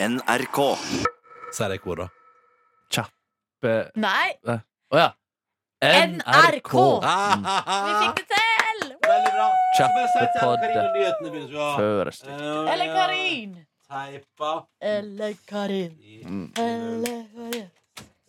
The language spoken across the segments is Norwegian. NRK. Sier jeg hvor, da? Be- Nei, Å ja. NRK. vi Ah, fikk det til! Veldig bra. Kjappe pod Nyhetene begynner vi å ha. først. Eller Karin. Teipa. Eller Karin. Eller Karin.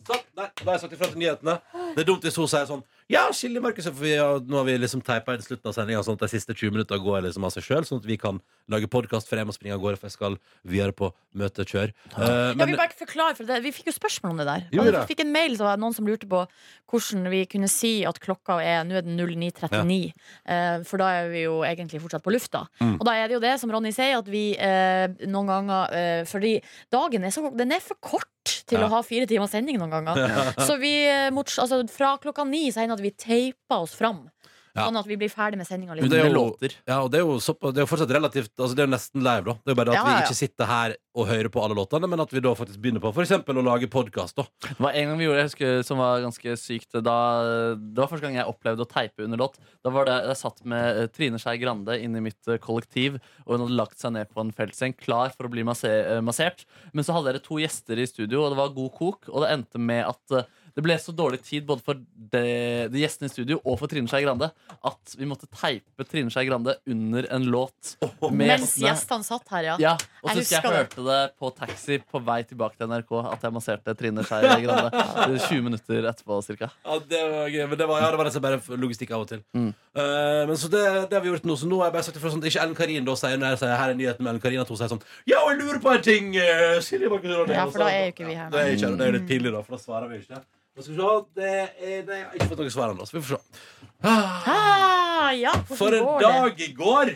Sånn, der, da har jeg sagt ifra til nyhetene. Det er dumt hvis hun sier sånn Ja, Silje Markus, for vi har, nå har vi liksom teipa inn slutten av sendinga, sånn at de siste 20 minutter går liksom av seg sjøl, sånn at vi kan lage podkast før jeg må springe av gårde, for jeg skal videre på møte og kjør. Eh, Ja, men vi, bare forklare, for det. vi fikk jo spørsmål om det der. Gjorde Og det? vi fikk en mail som var det noen som lurte på hvordan vi kunne si at klokka er Nå er den 09.39, eh, for da er vi jo egentlig fortsatt på lufta. Mm. Og da er det jo det, som Ronny sier, at vi eh, noen ganger eh, Fordi dagen er, så, den er for kort til Ja. å ha fire timers sending noen ganger. Så vi, eh, mot, altså, fra klokka ni så hender det at vi teiper oss fram. Ja. Sånn at vi blir ferdig med sendinga Men litt. det er Med jo- låter. ja, og det er jo såpass- det er jo fortsatt relativt Altså det er jo nesten live, da. Det er jo bare det at Ja, ja, vi ja. ikke sitter her og hører på alle låtene, men at vi da faktisk begynner på f.eks. å lage podkast, da. Det var en gang vi gjorde, jeg husker, som var ganske sykt da, Det var første gang jeg opplevde å teipe under låt Da var det, jeg satt med eh, Trine Skei Grande inne i mitt eh, kollektiv Og hun hadde lagt seg ned på en feltseng Klar for å bli masse, eh, massert Men så hadde dere to gjester i studio Og det var god kok Og det endte med at eh, det ble så dårlig tid både for de, de gjestene i studio og for Trine Skei Grande at vi måtte teipe Trine Skei Grande under en låt. med Mens gjestene. gjestene satt her, ja. Ja, og Jeg så husker jeg husker hørte det på taxi på vei tilbake til NRK at jeg masserte Trine Skei Grande Det er 20 minutter etterpå cirka. Ja, det var gøy. Men det var, ja, det var nesten bare logistikk av og til. Mm. Eh, men så det, det har vi gjort nå. Så nå har jeg bare sagt ifra sånn at ikke Ellen Karin da sier når jeg sier her er nyheten med Ellen Karin, at hun sier sånn Ja, jeg lurer på en ting! eh, Silje Markus Rådheim», Ja, og for så- da er jo ikke vi her, Ja, det, er ikke, det er jo litt pinlig, da, for da svarer vi ikke. Men skal vi se det er, Nei, jeg har ikke fått noe svar ennå, så vi får se. Ah, Ah, ja hvordan for en går det? dag i går!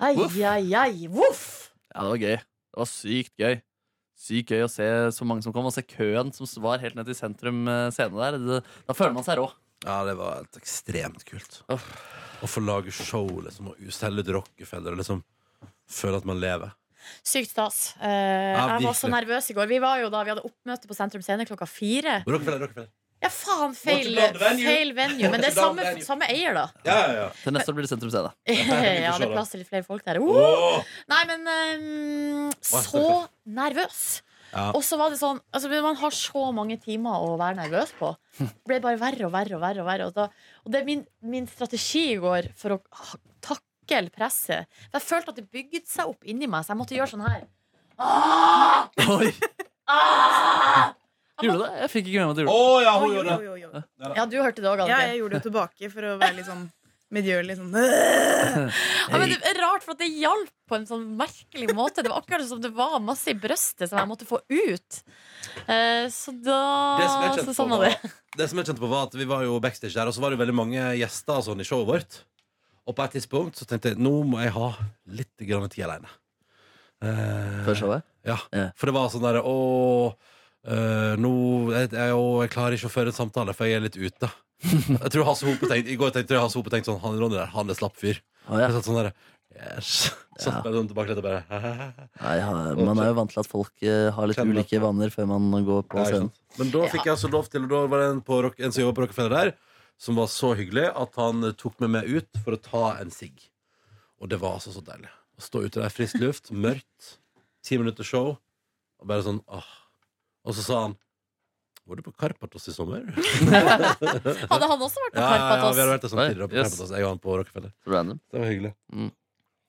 Ai, Voff. ai, ai, voff! Ja, det var gøy. Det var sykt gøy. Sykt gøy å se så mange som kom, og se køen som var helt ned til sentrum eh, scene der. Det, da føler man seg rå. Ja, det var helt ekstremt kult. Uff. Å få lage show liksom, og selge ut Rockefeller og liksom føle at man lever. Sykt stas. Eh, jeg var virkelig. så nervøs i går. Vi, var jo da, vi hadde oppmøte på Sentrum Scene klokka fire. Rockefeller, Rockefeller. Ja, faen, feil, Not a bad venue. feil venue. Men det Not a er bad samme, venue. samme eier, da. Ja, ja, ja. Til neste år blir det sentrum scene. ja, se det det. er plass til litt flere folk der. Oh! Åh! Nei, men ehm, Hva er så nervøs. Ja. Og så var det sånn altså, men Man har så mange timer å være nervøs på. Det ble bare verre og verre og verre. Og, verre. Og, da, og det er min, min strategi i går for å ha- takle presset. For jeg følte at det bygde seg opp inni meg, så jeg måtte gjøre sånn her. Ah! Oi! Ah! Gjorde du det? Jeg fikk ikke med meg at du Å gjorde det. ja, hun Oi, gjorde det. oi, oi, oi. Ja, du hørte det òg, Ja, Anniken. jeg gjorde det jo tilbake for å være litt sånn medgjørlig. Sånn. Ja, men det er rart, for at det hjalp på en sånn merkelig måte. Det var akkurat som det var masse i brøstet som jeg måtte få ut. Eh, så Det som da jeg så kjente Sånn på var det. var- Det som jeg kjente på var at Vi var jo backstage der, og så var det veldig mange gjester og sånn, i showet vårt. Og på et tidspunkt så tenkte jeg nå må jeg ha litt grann tid aleine. Før showet? ja. Ja. For det var sånn derre Å, eh, nå jeg, jeg, å, jeg klarer ikke å føre en samtale, for jeg er litt ute. Jeg tror Hasse Hope tenkte, I går tenkte jeg Hasse Hope tenkte sånn Han Ronny der, han er slapp fyr. Å, Jeg ja. satt sånn derre Yes. Satt Ja. bare sånn tilbake og bare Nei, ja, Man er jo vant til at folk eh, har litt Kjenner. ulike vaner før man går på Ja, ikke scenen. sant. Men da fikk jeg altså lov til Og da var det en, på rock, en som jobbet på Rockefeller der Som var så hyggelig at han eh, tok med meg ut For å ta en sigg Og det var altså så deilig Å stå ute der, frisk luft, mørkt Ti minutter show Og bare sånn, åh Og så sa han Var du på Karpatos i sommer? ja, Hadde han også vært ja, på ja, vi Karpatos? hadde vært der sånn Oi, tidligere på yes. Karpatos Jeg og han på Rockefeller Random. Det var hyggelig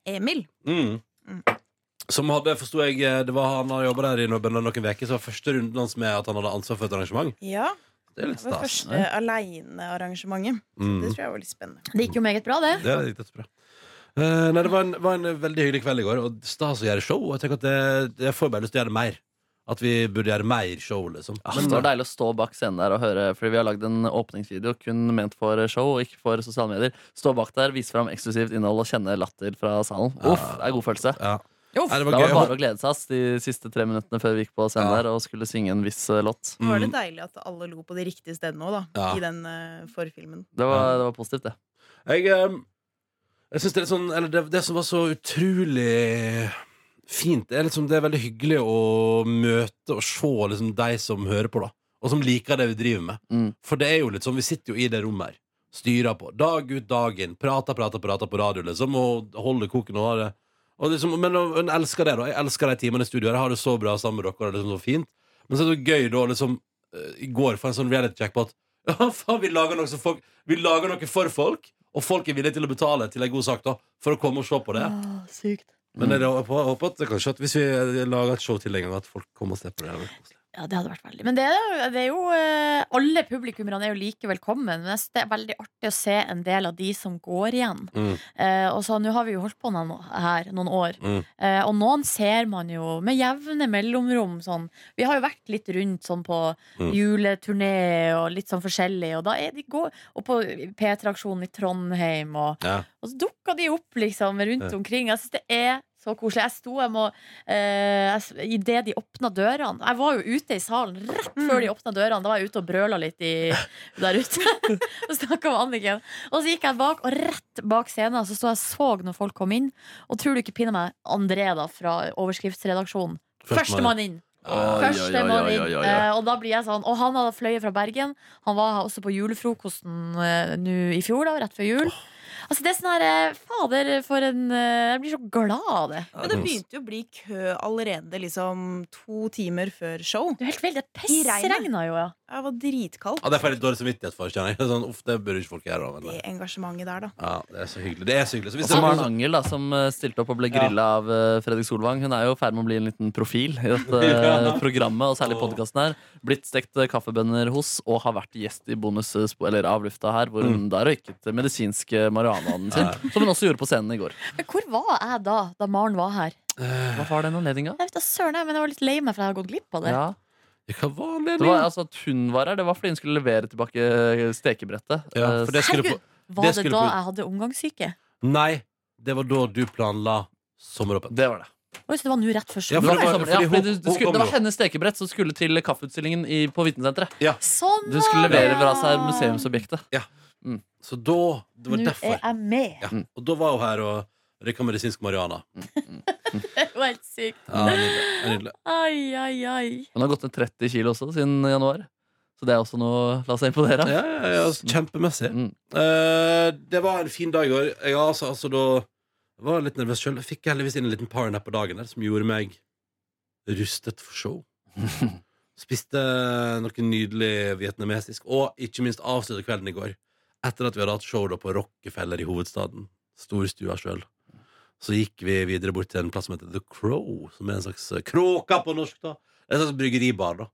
Emil. Mm. Som hadde, forstod jeg eh, Det var han har jobbet der i noen, noen veker Så var første runden hans med at han hadde ansvar for et arrangement Ja, Det er det litt var stas første aleinearrangementet. Mm. Det tror jeg var litt spennende. Det gikk jo meget bra, det. Det er riktig bra. Eh, nei, det var en, var en veldig hyggelig kveld i går, og stas å gjøre show. Og jeg tenker at det, jeg får bare lyst til å gjøre mer. At vi burde gjøre mer show, liksom. Ja, Men, Ah, det var deilig å stå bak scenen der og høre, fordi vi har lagd en åpningsvideo kun ment for show og ikke for sosiale medier. Stå bak der, vise fram eksklusivt innhold og kjenne latter fra salen. Uff, det er god følelse. ja. Uff. Nei, Ah. det var Da var gøy. det bare å glede seg ass, de siste tre minuttene før vi gikk på scenen Ja. der og skulle synge en viss eh, låt. Så var det Mm. deilig at alle lo på de riktige stedene òg, da. Ja. I den eh, forfilmen. Det var, det var positivt, det. Jeg, eh, jeg synes det er litt sånn Eller det, det som var så utrolig fint, det er liksom Det er veldig hyggelig å møte og se liksom de som hører på, da. Og som liker det vi driver med. Mm. For det er jo litt sånn, vi sitter jo i det rommet her. Styrer på. Dag ut, dag inn. Prater, prater, prater på radio, liksom. Og holder koken og har det Og liksom, men hun elsker det, da. Jeg elsker de timene i studio. Jeg har det så bra sammen med dere. Og det er liksom så fint. Men så er det så gøy da liksom eh, i går få en sånn reality check på at ja, faen, vi lager, noe som folk, vi lager noe for folk, og folk er villige til å betale til en god sak da for å komme og se på det. Åh, Ah. sykt. Men jeg håper, jeg håper at, kanskje at hvis vi lager et show til en gang, at folk kommer og ser på det. det. er koselig. Ja, det hadde vært veldig Men det er jo, det er jo eh, alle publikummerne er jo like velkommen. Men jeg synes det er veldig artig å se en del av de som går igjen. Mm. Eh, og så Nå har vi jo holdt på noen, her noen år, Mm. eh, og noen ser man jo med jevne mellomrom. Sånn. Vi har jo vært litt rundt sånn på Mm. juleturné og litt sånn forskjellig, og da er de gå Og på P3-aksjonen i Trondheim, og, Ja. og så dukker de opp liksom rundt Ja. omkring. Jeg syns det er så koselig. Jeg sto jeg må, eh, jeg s- i det de åpna dørene Jeg var jo ute i salen rett før de åpna dørene. Da var jeg ute og brøla litt i, der ute og snakka med Anniken. Og så gikk jeg bak, og rett bak scenen så sto jeg og så når folk kom inn. Og tror du ikke pinne meg André da fra overskriftsredaksjonen. Førstemann Førstemann inn! Oi, oi, oi, Førstemann oi, inn. oi, oi. Eh, og da blir jeg sånn Og han hadde fløyet fra Bergen. Han var her også på julefrokosten eh, nå i fjor, da, rett før jul. Altså det er sånn her eh, Fader, for en eh, Jeg blir så glad av det. Men det Mm. begynte jo å bli kø allerede liksom to timer før show. Du er helt vild. Det I regnet. pissregna jo, ja. Jeg var dritkaldt. Ja, det får jeg litt dårlig samvittighet for, kjenner jeg. Sånn, uff, det burde ikke folk gjøre. da, Men, Det engasjementet der, da. ja, det er så hyggelig. Det er så hyggelig. Så hvis Og så det- Maren Angel, da, som eh, stilte opp og ble grilla av eh, Fredrik Solvang. Hun er jo i ferd med å bli en liten profil i dette eh, programmet, og særlig podkasten her. Blitt stekt eh, kaffebønner hos, og har vært gjest i bonus eh, spo- eller avlufta her, hvor Mm. hun da røyket medisinsk eh, marihuanaen sin. Som hun også gjorde på scenen i går. Men hvor var jeg da, da Maren var her? Hva var den anledninga? Jeg vet da søren, jeg, men jeg var litt lei meg for jeg har gått glipp av det. Ja. Ja, Hva var anledningen? Det var altså at hun var her, det var fordi hun skulle levere tilbake eh, stekebrettet. eh, Ja, for det skulle Herregud, på- var det det, skulle da på- jeg hadde omgangsyke? Nei, det var da du planla sommeråpent. Det var det. Oi, så det var nå rett før Ja, sommeren? for det var- Ja, fordi fordi hun- du, du hun skulle, kom det var jo. hennes stekebrett som skulle til kaffeutstillingen i, på Vitensenteret. Sånn! Du skulle levere fra seg ja. museumsobjektet. Så da Det var Nå derfor. er jeg med. Ja. Og da var hun her og røyka medisinsk marihuana. Det var helt sykt. Ja, nydelig. nydelig. Ai, ai, ai. Hun har gått ned 30 kilo også siden januar. Så det er også noe å la seg imponere av. Ja, ja, ja, altså, kjempemessig. Mm. Eh, det var en fin dag i går. Jeg altså, altså, da jeg var litt nervøs sjøl. Fikk heldigvis inn en liten powernap på dagen der, som gjorde meg rustet for show. Spiste noe nydelig vietnamesisk, og ikke minst avsluttet kvelden i går. Etter at vi hadde hatt show da på Rockefeller i hovedstaden. Storstua sjøl. Så gikk vi videre bort til en plass som heter The Crow, som er en slags eh, kråka på norsk. da En slags bryggeribar. da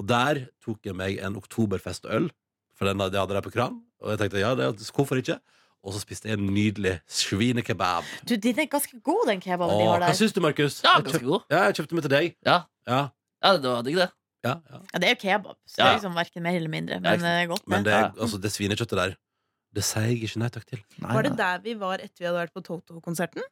Og der tok jeg meg en oktoberfestøl, for den hadde jeg hadde der på kran. Og jeg tenkte ja, det, hvorfor ikke? Og så spiste jeg en nydelig svinekebab. Du, den er ganske god, den kebaben de Åh, har hva der. syns du, Markus? Ja, jeg, ganske kjøpt, god. ja, jeg kjøpte meg til deg. Ja, Ja, ja det var digg, det. ja, ja. Ja, det er jo kebab, så det Ja. er liksom verken mer eller mindre. Ja, Men ikke det er godt, Men det. det, Ja. altså, det svinekjøttet der, det sier jeg ikke nei takk til. Var det der vi var etter vi hadde vært på Toto-konserten?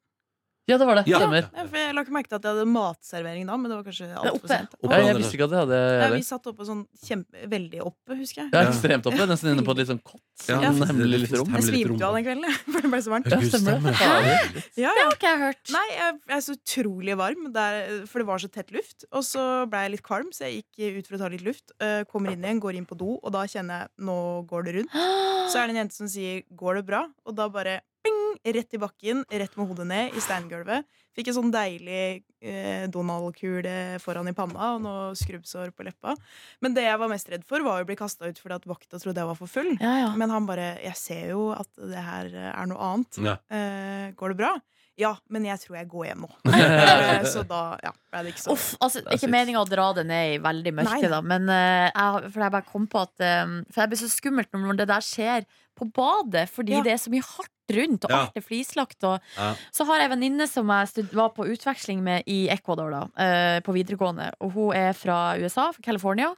Ja, det var det. Ja. Stemmer. Ja, for Jeg la ikke merke til at jeg hadde matservering da, men det var kanskje alt oppe. for sent. Oppe Ja, jeg andre- visste ikke at jeg hadde Ja, det. vi satt oppe sånn kjempe, veldig oppe, husker jeg. Jeg er ekstremt oppe, nesten inne på et litt sånn kott. Ja, Ja, det- hemmelig det lite finnes rom. Jeg hemmelig lite svimte jo rom. av den kvelden, jeg, for det ble så varmt. Ja, Ja, stemmer det. stemmer det. Fader. Ja, Det ja. har ikke jeg hørt. Nei, jeg jeg er så utrolig varm, der, for det var så tett luft. Og så ble jeg litt kvalm, så jeg gikk ut for å ta litt luft. eh, Kommer inn igjen, går inn på do, og da kjenner jeg nå går det rundt. Så er det en jente som sier 'går det bra?' Og da bare ping, rett i bakken, rett med hodet ned i steingulvet. Fikk en sånn deilig eh, Donald-kule foran i panna og noe skrubbsår på leppa. Men det jeg var mest redd for, var jo å bli kasta ut fordi at vakta trodde jeg var for full. Ja, ja. Men han bare 'jeg ser jo at det her er noe annet'. Ja. Eh, går det bra? Ja, men jeg tror jeg går hjem nå. Eh, så da ja, ble det ikke så Uff, altså, er ikke sykt. meninga å dra det ned i veldig mørke, Nei. da, men eh, jeg, for jeg bare kom på at eh, For jeg blir så skummelt når det der skjer på badet, fordi Ja. det er så mye hardt rundt, og Ja. alt er flislagt. Og, Ja. Så har jeg en venninne som jeg stud var på utveksling med i Ecuador, da, eh, på videregående. Og hun er fra USA, fra California.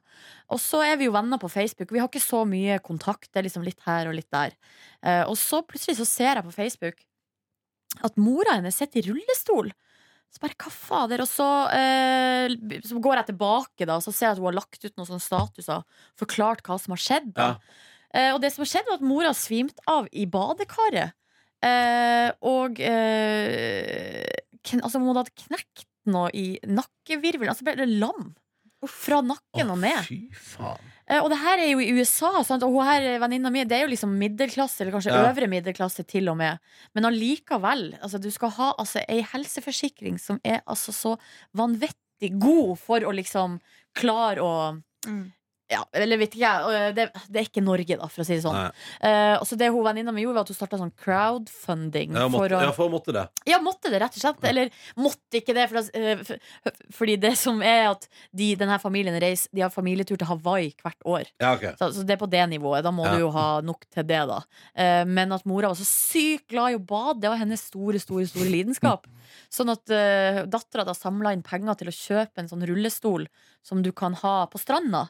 Og så er vi jo venner på Facebook. Vi har ikke så mye kontakt. Det er liksom litt her og litt der. Eh, og så plutselig så ser jeg på Facebook at mora hennes sitter i rullestol. Så bare, hva fader? Og så, eh, så går jeg tilbake, da, og så ser jeg at hun har lagt ut noen sånne statuser. Forklart hva som har skjedd. Da. Ja. Eh, og det som har skjedd, var at mora svimte av i badekaret. Eh, og eh, kn altså, hun hadde knekt noe i nakkevirvelen. Altså ble det lam. Fra nakken og ned. Fy faen. Mm. Eh, Og det her er jo i USA, sant? og hun her, eh, venninna mi det er jo liksom middelklasse, eller kanskje Ja. øvre middelklasse til og med. Men allikevel, altså, du skal ha altså, ei helseforsikring som er altså så vanvittig god for å liksom klare å Mm. ja, eller vet ikke jeg. øh, Det, det er ikke Norge, da, for å si det sånn. Nei. Eh, og så det hun venninna mi gjorde, var at hun starta sånn crowdfunding. Ja, måtte, for å, ja, for måtte det. ja, måtte det, rett og slett. Eller måtte ikke det. For, da- eh, for, fordi det som er at de, denne familien reiser De har familietur til Hawaii hvert år. Ja, ok. Så, så det er på det nivået. Da må Ja. du jo ha nok til det, da. Eh, men at mora var så sykt glad i å bade, det var hennes store, store store lidenskap. Sånn at uh, dattera da samla inn penger til å kjøpe en sånn rullestol som du kan ha på stranda.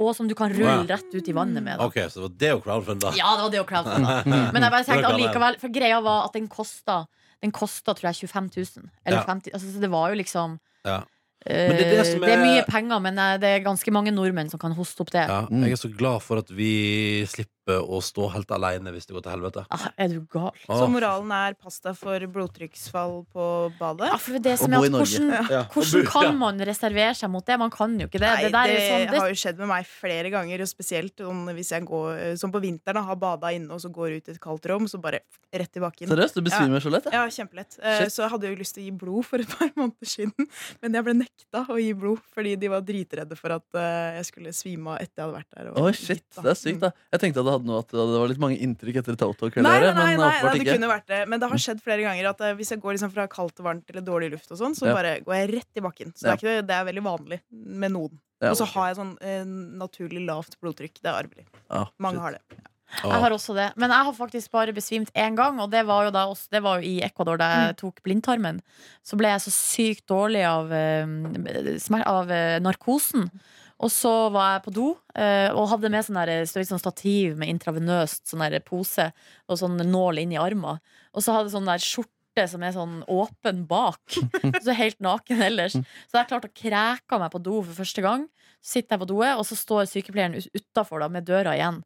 Og som du kan rulle Ja. rett ut i vannet med. Da. Ok, så det var det å crowdfunde. Ja, det var det å crowdfunde. Men jeg bare tenkte allikevel, for greia var at den kosta den kosta tror jeg 25 000. Eller Ja. 50, altså, så det var jo liksom Ja. eh, Men det, det er er det som mye er- penger, men eh, det er ganske mange nordmenn som kan hoste opp det. Ja, Mm. jeg er så glad for at vi slipper å stå helt alene hvis det går til helvete. Ah, er du gal? Så Åh. moralen er pasta for blodtrykksfall på badet? Ja, for det er det som Å er bo i at Norge. hvordan, Ja. hvordan Ja. kan man reservere seg mot det? Man kan jo ikke det. Nei, det, der er jo sånn, det har jo skjedd med meg flere ganger, og spesielt om hvis jeg går Som på vinteren, da, har bada inne og så går ut i et kaldt rom, så bare rett i bakken. Seriøst, du besvimer så lett? jeg. Ja, kjempelett. Eh, Shit. Så jeg hadde jo lyst til å gi blod for et par måneder siden, men jeg ble nekta å gi blod fordi de var dritredde for at eh, jeg skulle svime av etter jeg hadde vært der. og Oi, shit, gitt, da. Det er sykt, da. Jeg tenkte at det, hadde noe, at det var litt mange inntrykk etter Toto-kvelden. Nei, nei, her, nei, men eh, nei, åpenbart nei, det ikke. kunne vært det. Men det har skjedd flere ganger at eh, hvis jeg går liksom fra kaldt til varmt eller dårlig luft, og sånn, så Ja. bare går jeg rett i bakken. Så det, er ikke, det er veldig vanlig med noen. Ja, og så ok. har jeg sånn eh, naturlig lavt blodtrykk. Det er arvelig. Ja, Mange shit. har det. Jeg har også det. Men jeg har faktisk bare besvimt én gang, og det var jo, da også, det var jo i Ecuador da jeg tok blindtarmen. Så ble jeg så sykt dårlig av, eh, smer- av eh, narkosen. Og så var jeg på do eh, og hadde med sånn der, så litt sånn stativ med intravenøst sånn der pose og sånn nål inn i armen. Og så hadde jeg sånn der skjorte som er sånn åpen bak. Så helt naken ellers. Så jeg klarte å kræke meg på do for første gang. Så sitter jeg på doet, og så står sykepleieren utafor med døra igjen.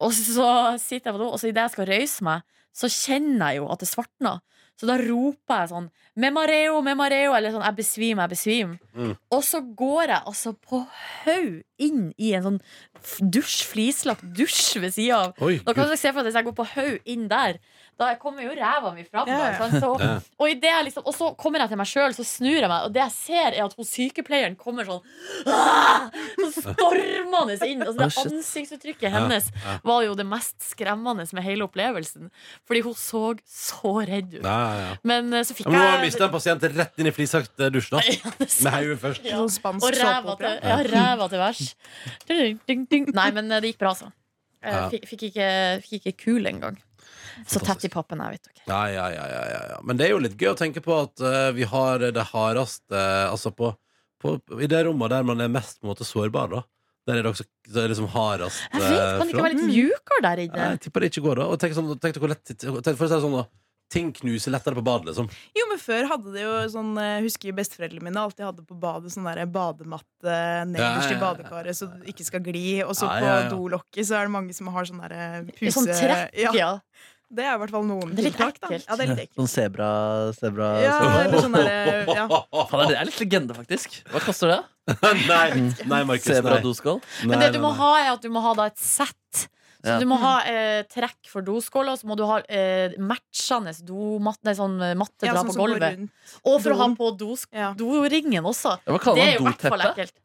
Og så sitter jeg på do, og så idet jeg skal røyse meg, så kjenner jeg jo at det svartner. Så da roper jeg sånn 'Med mareo, med mareo', eller sånn 'Jeg besvimer, jeg besvimer'. Mm. Og så går jeg altså på haug inn i en sånn f- dusj, flislagt dusj ved sida av. Oi, Da kan gud. dere se for dere hvis jeg går på haug inn der. Da kommer jo ræva mi fram. Ja, Da, ja. sant? så, Ja. og, i det jeg liksom, og så kommer jeg til meg sjøl, så snur jeg meg, og det jeg ser, er at hun sykepleieren kommer sånn «Ah!» så stormende inn. Altså, Oh, det shit. ansiktsuttrykket hennes var jo det mest skremmende med hele opplevelsen. Fordi hun så så redd ut. Nei, ja, ja. Men eh, så Ja, fikk Men nå har jeg vi mistet en pasient rett inn i flisagt eh, dusj, da. Ja, det sa- Med hodet først. Ja. Sånn spansk Og ræva til, såpeopera. ja, ræva til vers. Ding, ding, ding. Nei, men eh, det gikk bra, altså. Eh, Ja. Fikk, fikk, ikke, fikk ikke kul engang. Så tett i Fantastisk. pappen jeg, vet dere. Ja, ja, ja, ja, ja, ja. Men det er jo litt gøy å tenke på at eh, vi har det hardeste eh, Altså på, på, i det rommet der man er mest på en måte sårbar, da. Der er det også det er liksom hardest Jeg eh, vet, Kan det ikke fra. være litt eh? mjukere der Nei, inne? Jeg tipper det ikke går, da. Og tenk, sånn, tenk deg hvor lett tenk, For å si det sånn, da. Ting knuser lettere på badet, liksom. Jo, men Før hadde det jo sånn eh, husker besteforeldrene mine alltid hadde på badet sånn der badematte nederst Ja, ja, i ja. badekaret, så det ikke skal gli. Og så Ja, ja, ja. på dolokket så er det mange som har sånn der puse... Sånn trekk, Ja, ja. det er i hvert fall noen Det er litt tiltak, da. ekkelt. Ja, det er litt ekkelt. Sånn sebra... sebra Ja, sebra- eller sånn der, ja. Faen, det er litt legende, faktisk. Hva koster det? nei, nei, Markus. Sebra Nei. doskål? Men Nei, det du nei, må nei. ha, er at du må ha da et sett. Så Ja. du må ha eh, trekk for doskåla, og så må du ha eh, matchende domatte, nei, sånn eh, matte Ja, dra på sånn som går gulvet. rundt. Og for å ha doen. på dosk- Ja. doringen også. Ja, Hva Det kaller er jo i man hvert fall doteppe? ekkelt.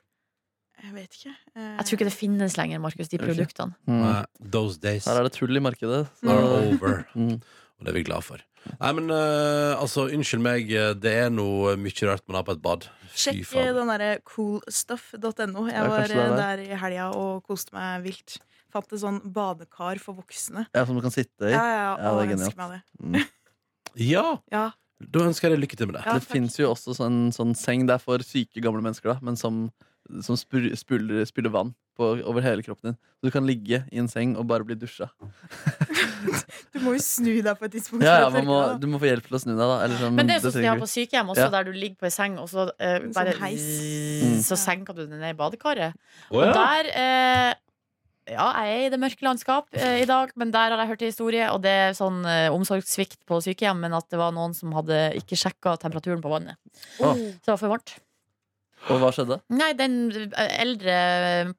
Jeg vet ikke. Eh, Jeg tror ikke det finnes lenger, Markus, de Gjør det ikke? produktene. Mm. Nei, Those days Her er det tull i markedet. så- are over. Mm. Og det er vi glad for. Nei, men eh, altså, unnskyld meg, eh, det er noe mye rart man har på et bad. Fy Sjekk eh, faen. den derre coolstuff.no. Ja, Jeg var kanskje det er eh, der i helga og koste meg vilt. Fant et sånn badekar for voksne. Ja, som du kan sitte i. Ja, ja, Ja, og det er ønsker genialt. meg det. Ja, Ja, da ønsker jeg deg lykke til med det. ja, det takk. fins jo også sånn, sånn seng der for syke, gamle mennesker, da, men som, som spyr- spyler, spyler vann på, over hele kroppen din. Så du kan ligge i en seng og bare bli dusja. Du må jo snu deg på et tidspunkt. Ja, ja, for å man tørke må, deg, da. du må få hjelp til å snu deg, da. Eller sånn, Men det er jo sånn som de trenger har vi på sykehjem også, Ja. der du ligger på ei seng, og så eh, En sånn bare heis. zzz, Mm. Så senker du den ned i badekaret. Å, ja. Og der eh, Ja, jeg er i det mørke landskap eh, i dag, men der har jeg hørt en historie, og det er sånn eh, omsorgssvikt på sykehjem, men at det var noen som hadde ikke sjekka temperaturen på vannet. Å. Så det var for varmt. Og hva skjedde? Nei, den eldre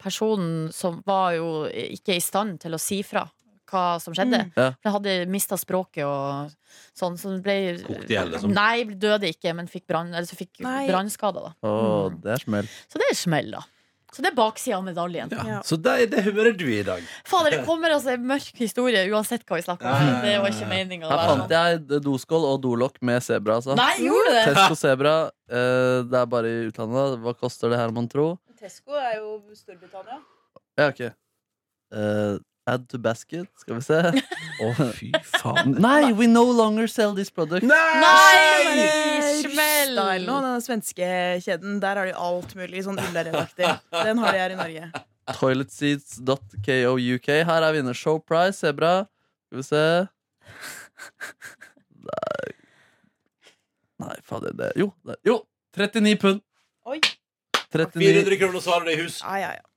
personen som var jo ikke i stand til å si fra hva som skjedde. Ja. Den hadde mista språket og sånn, så den ble Kokte i hjel, liksom. Nei, døde ikke, men fikk brann- eller så fikk Nei. brannskader, da. Å, det er smell. Så det er smell, da. Så det er baksida av medaljen. Ja. Så det er det humøret du er i i dag. Fader, det kommer altså en mørk historie uansett hva vi snakker om. Ja, ja, ja, ja. Det var ikke meninga. Her fant jeg doskål og dolokk med sebra. Altså. sånn. Nei, gjorde du det? Tesco sebra. eh, det er bare i utlandet. Hva koster det her, mon tro? Tesco er jo Storbritannia. Ja, ok. Eh, add to basket, skal vi se. Å, fy faen. Nei, we no longer sell this product. Nei! eh, Smell! Smell! Og den svenske kjeden, der har de alt mulig sånn ullredaktig. Den har de her i Norge. Toiletseats.kouk. Her er vinner show price, sebra. Skal vi se. Nei, Nei fader. Det Jo! Det, jo! 39 pund. Oi. 39 400 kroner, så har du det i hus. Ja, ja, ja.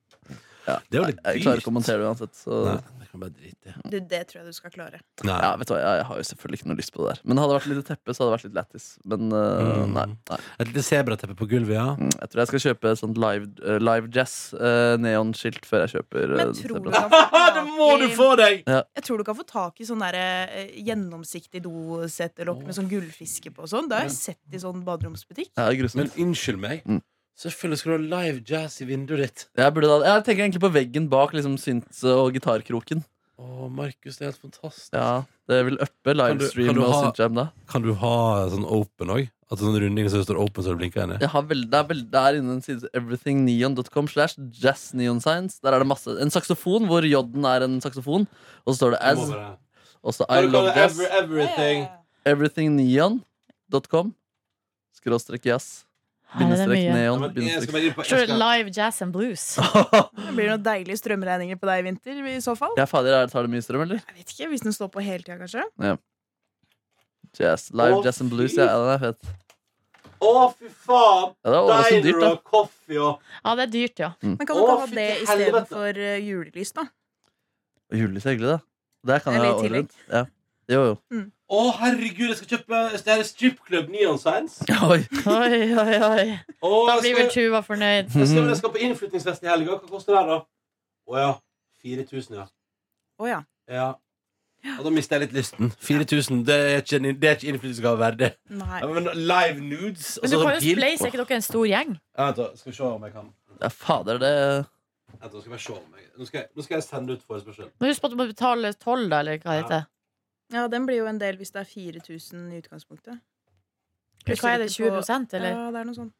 Det er jo litt Jeg klarer ikke å dyrt. kommentere det uansett. Så. Nei, jeg kan bare drite i det. Du, det tror jeg du skal klare. Nei. Ja, vet du hva, jeg, jeg har jo selvfølgelig ikke noe lyst på det der. Men hadde det vært litt teppe, så hadde det vært litt lættis. Men øh, Mm. nei, nei. Et lite sebrateppe på gulvet, ja. Mm, Jeg tror jeg skal kjøpe et sånt live, øh, live jazz øh, neonskilt før jeg kjøper øh, Men tror du Zebra. kan få Ah, det må tak du i få deg! Jeg tror du kan få tak i sånn der, eh, gjennomsiktig dosettelokk med sånn gullfiske på og sånn. Det har jeg sett i sånn baderomsbutikk. Ja, det er Men grusomt. unnskyld meg. Mm. Selvfølgelig skal du ha live jazz i vinduet ditt. Jeg, burde da, jeg tenker egentlig på veggen bak liksom, synts- og gitarkroken. Å, Markus, det er helt fantastisk. Ja, det vil uppe Kan du- livestream kan du og ha- synthjam da. Kan du ha sånn open òg? At sånn runding så det står open, så det blinker inne? Jeg har vel, det er vel, der inne en side everythingneon.com slash jazzneonscience. Der er det masse. En saksofon hvor J-en er en saksofon. Og så står det as. altså. Og så I love jazz. everything. everythingneon.com Skråstrek jazz Bindestrek mye. neon Jeg bindestrek. Tror det er live jazz and blues. Det blir noen deilige strømregninger på deg i vinter i så fall. Ja, fader, er det, tar det mye strøm, eller? Jeg vet ikke, Hvis den står på hele tida, kanskje. Jazz, live Å, jazz and blues, fy. ja, ja, den er fett Å, fy faen! ja, Det var også dyrt, da coffee og Ja, det er dyrt, ja. Men kan du Å, ikke ha fy det til helvete. istedenfor eh, julelys, da? Og Julelys er hyggelig, da Det kan Det jeg ha er litt året tillegg. rundt ja. Jo, jo Å, herregud, jeg skal kjøpe Det her er strippklubb Neon Science. Oi, Oi, oi, oi. Å, Da jeg, blir skal, vel Tuva fornøyd. jeg, skal, jeg skal på innflyttingsfest i helga. Hva koster det her, da? Å ja. 4000, ja. Å ja. ja. Og da mister jeg litt lysten. 4000, Mm, det er ikke, en- det er ikke innflytelsesgave verdig. Nei. Ja, Men live nudes og Men så du kan sånn jo pil. spleise, er ikke dere en stor gjeng? Ja, Vent, da. Skal vi se om jeg kan ja, fader, det Vent, da skal vi bare se om jeg Nå skal jeg, nå skal jeg sende ut forespørsel. Men husk på at du må betale toll, da, eller hva det heter. Ja, den blir jo en del hvis det er 4000 i utgangspunktet. Hva er det, Husker ikke på- 20 eller? Ja, det er noe sånt.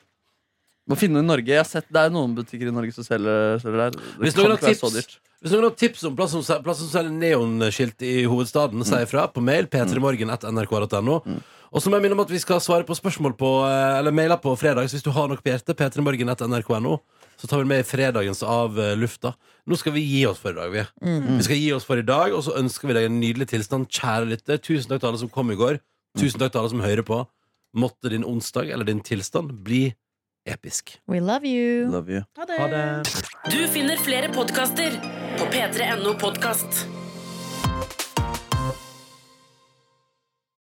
Må finne noe i Norge Jeg har sett, det er noen butikker i Norge som selger, selger der Det Hvis kan noen har ikke være så tips- dyrt Hvis noen har tips om plass som, plass som selger neonskilt i hovedstaden, si ifra på mail p3morgen.nrk.no. Og så må jeg minne om at vi skal svare på spørsmål på eh, Eller mailer på fredag. Så hvis du har noe på hjertet, p3morgen.nrk.no, så tar vi med fredagens av eh, lufta. Nå skal vi gi oss for i dag, vi. Vi skal gi oss for i dag, og så ønsker vi deg en nydelig tilstand, kjære lytter. Tusen takk til alle som kom i går. Tusen takk til alle som hører på. Måtte din onsdag eller din tilstand bli episk. We love you. Love you Ha det. Du finner flere podkaster på p3.no podkast.